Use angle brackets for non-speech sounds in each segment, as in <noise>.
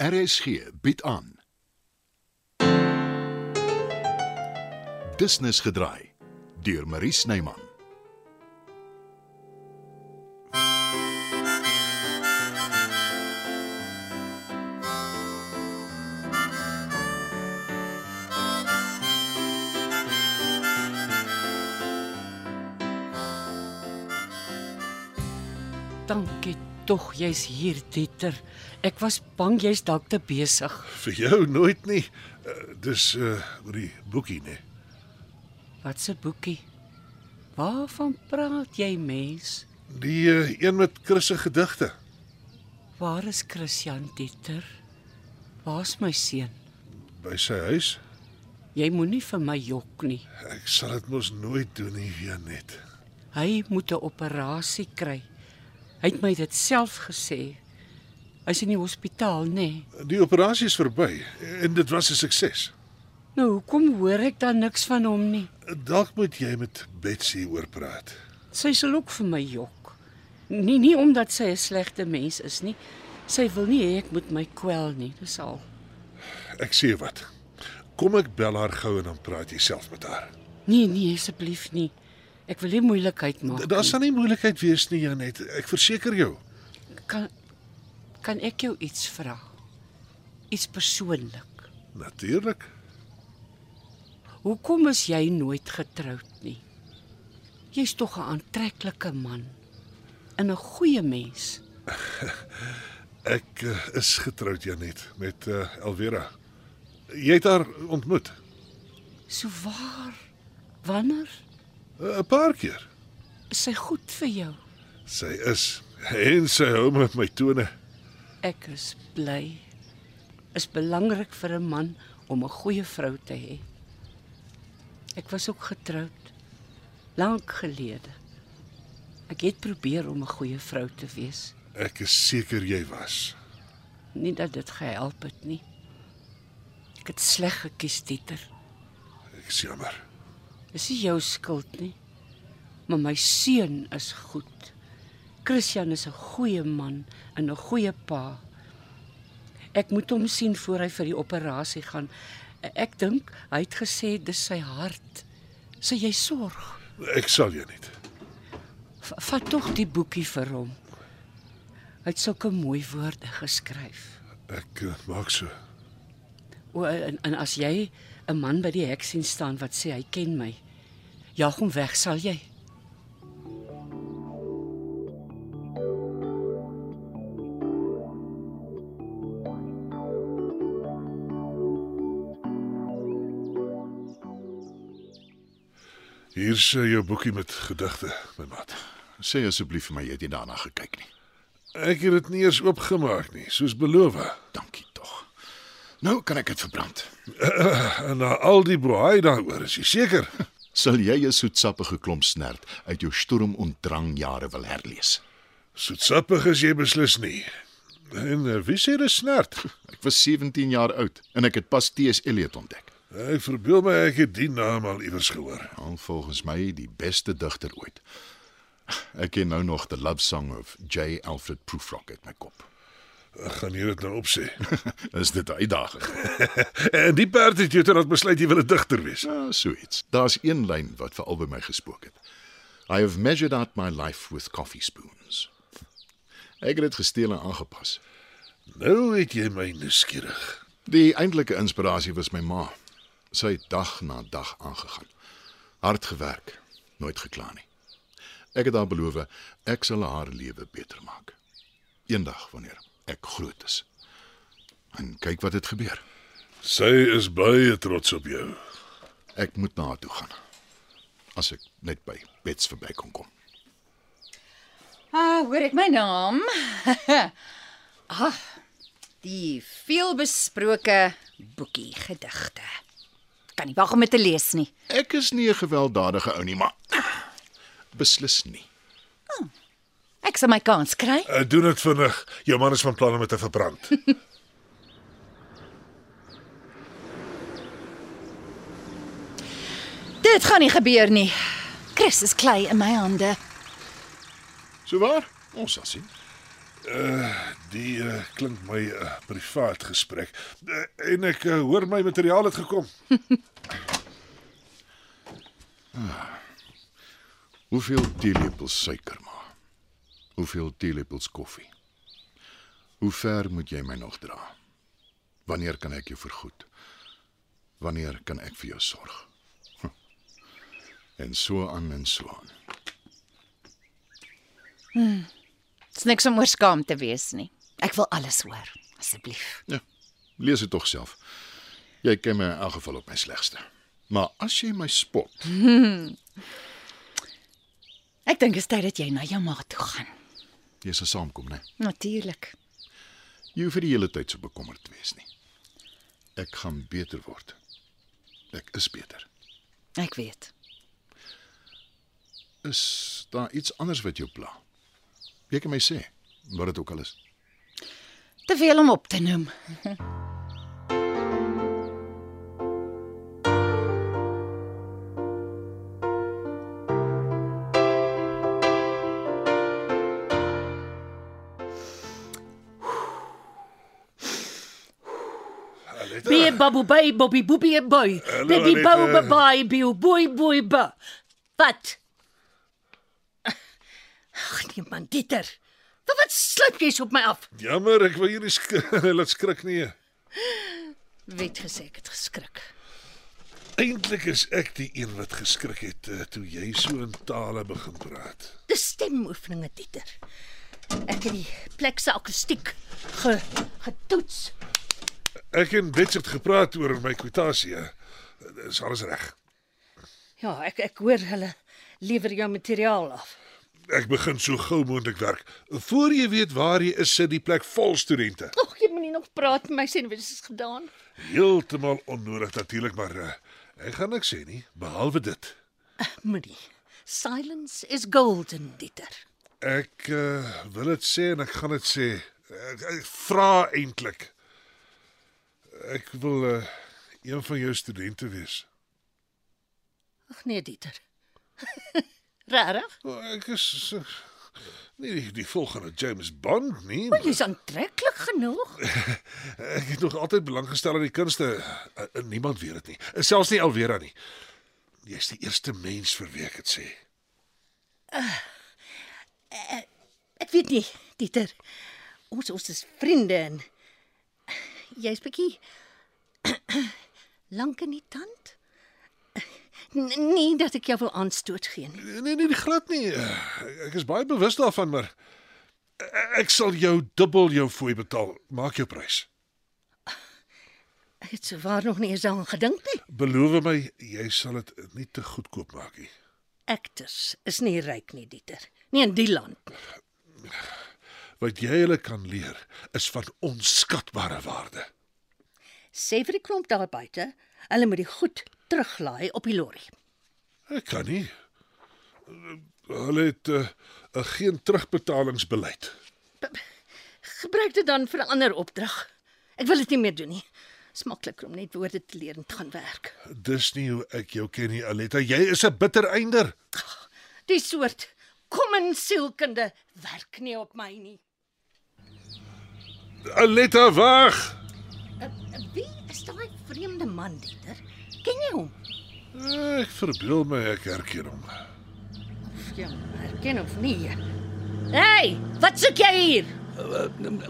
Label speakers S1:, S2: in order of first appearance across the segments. S1: RSG bied aan. Business gedraai deur Marie Snyman.
S2: Dankie tog jy's hier, Dieter. Ek was bang jy's dalk te besig.
S3: Vir jou nooit nie. Uh, dis uh oor die boekie nee. nê.
S2: Wat se boekie? Waarvan praat jy, mens?
S3: Die uh, een met Chris se gedigte.
S2: Waar is Christian Dieter? Waar's my seun?
S3: by sy huis.
S2: Jy moenie vir my jok nie.
S3: Ek sal dit mos nooit doen nie, Janet.
S2: Hy moet 'n operasie kry. Hy het my dit self gesê. Hy's in die hospitaal, nê? Nee.
S3: Die operasie is verby en dit was 'n sukses.
S2: Nou hoekom hoor ek dan niks van hom nie?
S3: Dalk moet jy met Betsy oor praat.
S2: Sy sal ook vir my jok. Nie nie omdat sy 'n slegte mens is nie. Sy wil nie hê ek moet my kwel nie, dis al.
S3: Ek sê wat. Kom ek bel haar gou en dan praat jy self met haar.
S2: Nee, nee, asseblief nie. Ek wil nie moeilikheid maak.
S3: Da- Daar sal nie moeilikheid wees nie, Janet. Ek verseker jou.
S2: nie. kan kan ek jou iets vra? Iets persoonlik.
S3: Natuurlik.
S2: Hoekom is jy nooit getroud nie? Jy's tog 'n aantreklike man en 'n goeie mens.
S3: Ek uh, is getroud, Janet, met uh, Elvera. Jy het haar ontmoet
S2: So waar? Wanneer
S3: Uh, 'n paar keer.
S2: is sy goed vir jou?
S3: Sy is en sy hou met my tone.
S2: Ek is bly. Is belangrik vir 'n man om 'n goeie vrou te hê. Ek was ook getroud lank gelede. Ek het probeer om 'n goeie vrou te wees,
S3: Ek is seker jy was.
S2: nie dat dit gehelp het nie. Ek het sleg gekies, Dieter.
S3: Ek is jammer.
S2: Dis nie jou skuld nie. Maar my seun is goed. Christian is 'n goeie man en 'n goeie pa. Ek moet hom sien voor hy vir die operasie gaan. Ek dink hy het gesê dis sy hart. Sê jy sorg.
S3: Ek sal jou nie.
S2: V- Vat tog die boekie vir hom. Hy het sulke mooi woorde geskryf.
S3: Ek eh, maak so.
S2: O en, en as jy 'n man by die hek sien staan wat sê hy ken my, jaag hom weg, sal jy?
S3: Hier's eh, jou boekie met gedigte, my maat.
S1: Sê asseblief vir my jy het nie daarna gekyk nie.
S3: Ek het dit nie eers oopgemaak nie, soos beloof.
S1: Dankie tog. Nou kan ek dit verbrand.
S3: En na al die braai daaroor, is jy seker?
S1: Sal jy 'n soetsappige klomp snert uit jou storm ontdrang jare wil herlees?
S3: Soetsappig is jy beslis nie. En eh, wie sê dis snert?
S1: Ek was 17 jaar oud en ek het pas T.S. Eliot ontdek.
S3: Ek verbeel my ek het die naam al iewers gehoor.
S1: Al volgens my die beste digter ooit. Ek ken nou nog The Love Song of J. Alfred Prufrock uit my kop. <laughs>
S3: Ek gaan jy dit nou opsê.
S1: Is dit 'n uitdaging?
S3: en die perd het jou toe laat besluit jy wil 'n digter wees.
S1: Ja, so iets. Daar's een lyn wat veral by my gespook het. I have measured out my life with coffee spoons. Ek het dit gesteel en aangepas.
S3: Nou het jy my nuuskierig.
S1: Die eintlike inspirasie was my ma. Sy het dag na dag aangegaan. Hard gewerk, nooit gekla nie. Ek het haar beloof ek sal haar lewe beter maak. Eendag wanneer ek groot is. En kyk wat het gebeur.
S3: Sy is baie trots op jou.
S1: Ek moet na haar toe gaan. As ek net by Bets verby kon kom.
S4: Ah, hoor ek my naam? <laughs> ah, die veelbesproke boekie gedigte. Kan nie wag om dit te lees nie.
S1: Ek is nie 'n gewelddadige ou nie, maar <clears throat> beslis nie.
S4: Ek sal my kans kry.
S3: Uh, doen dit vinnig. Jou man is van plan om dit te verbrand.
S4: Dit gaan nie gebeur nie. Chris is klei in my hande.
S1: Sou waar? Ons sal sien.
S3: Die uh, klink my 'n uh, privaat gesprek. Uh, en ek uh, hoor my materiaal het gekom.
S1: Hoeveel teelepels suiker maar? Hoeveel teelepels koffie? Hoe ver moet jy my nog dra? Wanneer kan ek jou vergoed? Wanneer kan ek vir jou sorg? Hm. En so aan en so aan.
S4: Dit's niks om oor skaam te wees nie. Ek wil alles hoor, asseblief.
S1: Ja. Lees dit tog self. Jy ken my in elk geval op my slegste. Maar as jy my spot,
S4: Ek dink dit is tyd dat jy na jou ma toe gaan.
S1: jy sal saamkom, né?
S4: Natuurlik.
S1: Jy hoef vir die hele tyd so bekommerd te wees nie. Ek gaan beter word. Ek is beter.
S4: Ek weet.
S1: Is daar iets anders wat jou pla? Jy kan my sê wat dit ook al is.
S4: Te veel om op te noem.
S2: Bie babu bay bobby boobie boy. Baby
S3: Annette.
S2: bou babai biu boy boy ba.
S5: Wat? Ag nee man, Dieter. Wat wat sluip jy so op my af?
S3: Jammer, ek wil hier nie sk <laughs> laat skrik nie.
S5: Weet gesê ek het geskrik.
S3: Eintlik is ek die een wat geskrik het uh, toe jy so in tale begin praat.
S5: Dis stemoefeninge, Dieter. Ek het die plek se akoestiek ge getoets.
S3: Ek en Bets het gepraat oor my kwitansie. Dis alles reg.
S5: Ja, ek ek hoor hulle lewer jou materiaal af.
S3: Ek begin so gou moontlik werk. Voor jy weet waar jy is, sit die plek vol studente.
S5: Ag, jy moenie nog praat met my sê wat is gedaan.
S3: Heeltemal onnodig natuurlik, maar uh, ek gaan niks sê nie behalwe dit.
S5: Moenie. Silence is golden, Dieter.
S3: Ek uh, wil dit sê en ek gaan dit sê. Ek, ek vra eintlik. Ek wil uh, een van jou studente wees.
S5: Ag nee, Dieter. <laughs> Regtig?
S3: Oh, ek is uh, nie die, die volgende James Bond nie. maar
S5: Jy's aantreklik genoeg.
S3: Ek het nog altyd belang gestel aan die kunste. Uh, uh, Niemand weet dit nie. Uh, Selfs nie Alvera nie. Jy's die eerste mens vir wie ek dit sê.
S5: Ek weet nie, Dieter. Ons ons is vriende en jy's bietjie <clears throat> lank in die tand. N- Nee, dat ek jou wil aanstoot gee nie.
S3: Nee nee, nee glad nie. Uh, Ek is baie bewus daarvan, maar uh, ek sal jou dubbel jou fooi betaal. Maak jou prys.
S5: Ek het sowaar nog nie eens daaraan gedink nie.
S3: Beloof my jy sal dit nie te goedkoop maak nie.
S5: Actors is nie ryk nie, Dieter. Nie in die land nie.
S3: Wat jy hulle kan leer is van onskatbare waarde.
S5: Sê vir die klomp daar buite, hulle moet die goed teruglaai op die lorry.
S3: Ek kan nie. Hulle het uh, uh, geen terugbetalingsbeleid.
S5: Gebruik dit dan vir 'n ander opdrag. Ek wil dit nie meer doen nie. Dis makliker om net woorde te leer en te gaan werk.
S3: Dis nie hoe ek jou ken nie, Aletta. Jy is 'n bitter einder.
S5: Die soort kom in sielkunde werk nie op my nie.
S3: Aletta, wag.
S5: Eh, Wie is daai vreemde man, Dieter? Ken jy hom?
S3: Ek verbeel my ek herken hom.
S5: Ja, herken of nie. Hey, wat soek jy hier?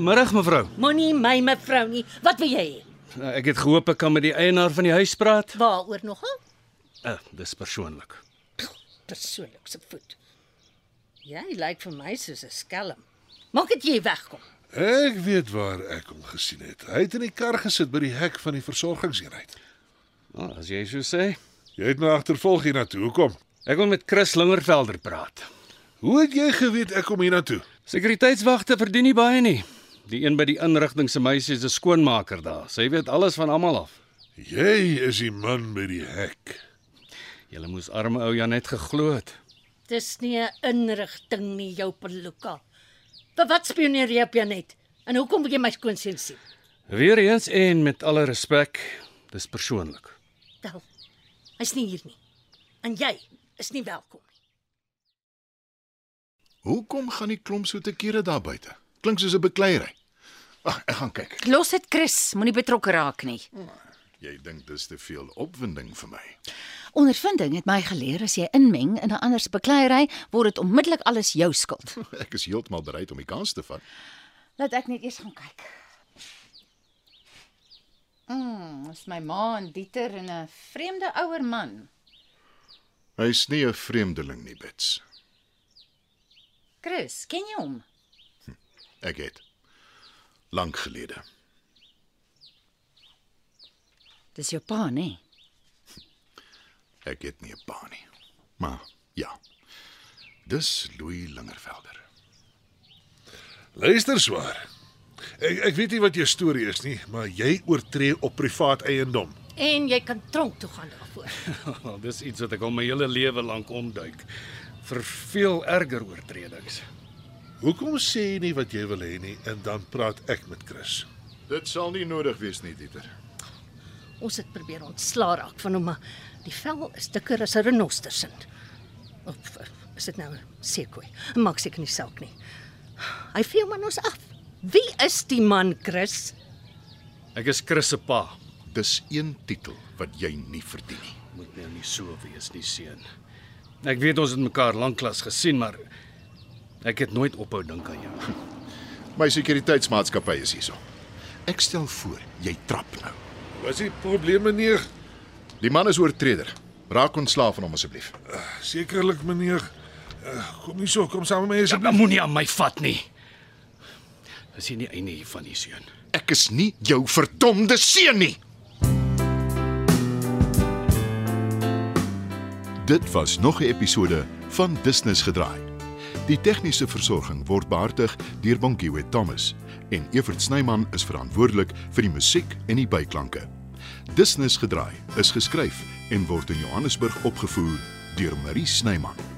S6: Middag mevrou.
S5: Moenie my mevrou nie. Wat wil jy hê?
S6: Nou, Ek het gehoop ek kan met die eienaar van die huis praat.
S5: Waaroor nogal?
S6: Uh, dis persoonlik.
S5: Persoonlik se voet. Jy lyk vir my soos 'n skelm. Maak dit jy wegkom.
S3: Ek weet waar ek hom gesien het. Hy het in die kar gesit by die hek van die versorgingseenheid.
S6: Nou, as jy so sê.
S3: Jy het my agtervolg hiernatoe. Hoekom?
S6: Ek wil met Chris Lingervelder praat.
S3: Hoe het jy geweet ek kom hiernatoe?
S6: Sekuriteitswagte verdien nie baie nie. Die een by die inrigting se meisie is 'n skoonmaker daar. Sy weet alles van almal af.
S3: Jy is die man by die hek.
S6: Julle moes arme ou Janet geglo het.
S5: Dis nie 'n inrigting nie, jou peluka. Vir wat spioneer jy op jou net? En hoekom wil jy my skoonseun sien?
S6: Weereens en met alle respek, dis persoonlik. <laughs>
S5: Wel, hy's nie hier nie. En jy is nie welkom nie.
S1: Hoekom gaan die klomp so te kere daar buite? Klink soos 'n bekleierery. Ag, ek gaan kyk.
S4: Los dit Chris, moenie betrokke raak nie.
S1: Jy dink dis te veel opwinding vir my. <laughs>
S7: Ondervinding het my geleer as jy inmeng in 'n ander se bekleierery, word dit onmiddellik alles jou skuld.
S1: Ek is heeltemal bereid om die kans te vat.
S7: Laat ek net eers gaan kyk.
S4: Mm, dis my ma en Dieter en 'n vreemde ouer man.
S1: Hy's nie 'n vreemdeling nie, Bets.
S4: Chris, ken jy hom?
S1: Ek het lank gelede.
S4: Dis jou pa, nê?
S1: Ek het nie 'n pa nie. Maar ja. Dis Louis Lingervelder.
S3: Luister swaar. Ek ek weet nie wat jou storie is nie, maar jy oortree op privaat eiendom.
S5: En jy kan tronk toe gaan daarvoor.
S6: Wel, dis iets wat ek al my hele lewe lank omduik. Vir veel erger oortredings.
S3: Hoekom sê jy nie wat jy wil hê nie en dan praat ek met Chris?
S1: Dit sal nie nodig wees nie, Dieter.
S5: Ons het probeer ontslaa raak van hom, maar die vel is dikker as 'n renoster se. Of is dit nou 'n seekoei? Maak seker nie saak nie. Hy vee hom aan ons af. Wie is die man, Chris?
S6: Ek is Chris se pa.
S1: Dis een titel wat jy nie verdien nie.
S6: Moet nou nie so wees nie, seun. Ek weet ons het mekaar lanklaas gesien, maar ek het nooit ophou dink aan jou.
S1: My sekuriteitsmaatskappy is hierso. Ek stel voor jy trap nou.
S3: Was die probleem meneer?
S1: Die man is oortreder. Raak ontslaaf van hom asseblief.
S3: Sekerlik meneer. Eh, Kom hierso, kom saam met my
S6: Ja,
S3: asseblief.
S6: dan moenie aan my vat nie. Dis nie die einde hiervan nie, seun.
S1: Ek is nie jou verdomde seun nie. Dit was nog 'n episode van Business Gedraai. Die tegniese versorging word behartig deur Bonnie Witt Thomas en Evert Snyman is verantwoordelik vir die musiek en die byklanke. Business Gedraai is geskryf en word in Johannesburg opgevoer deur Marie Snyman.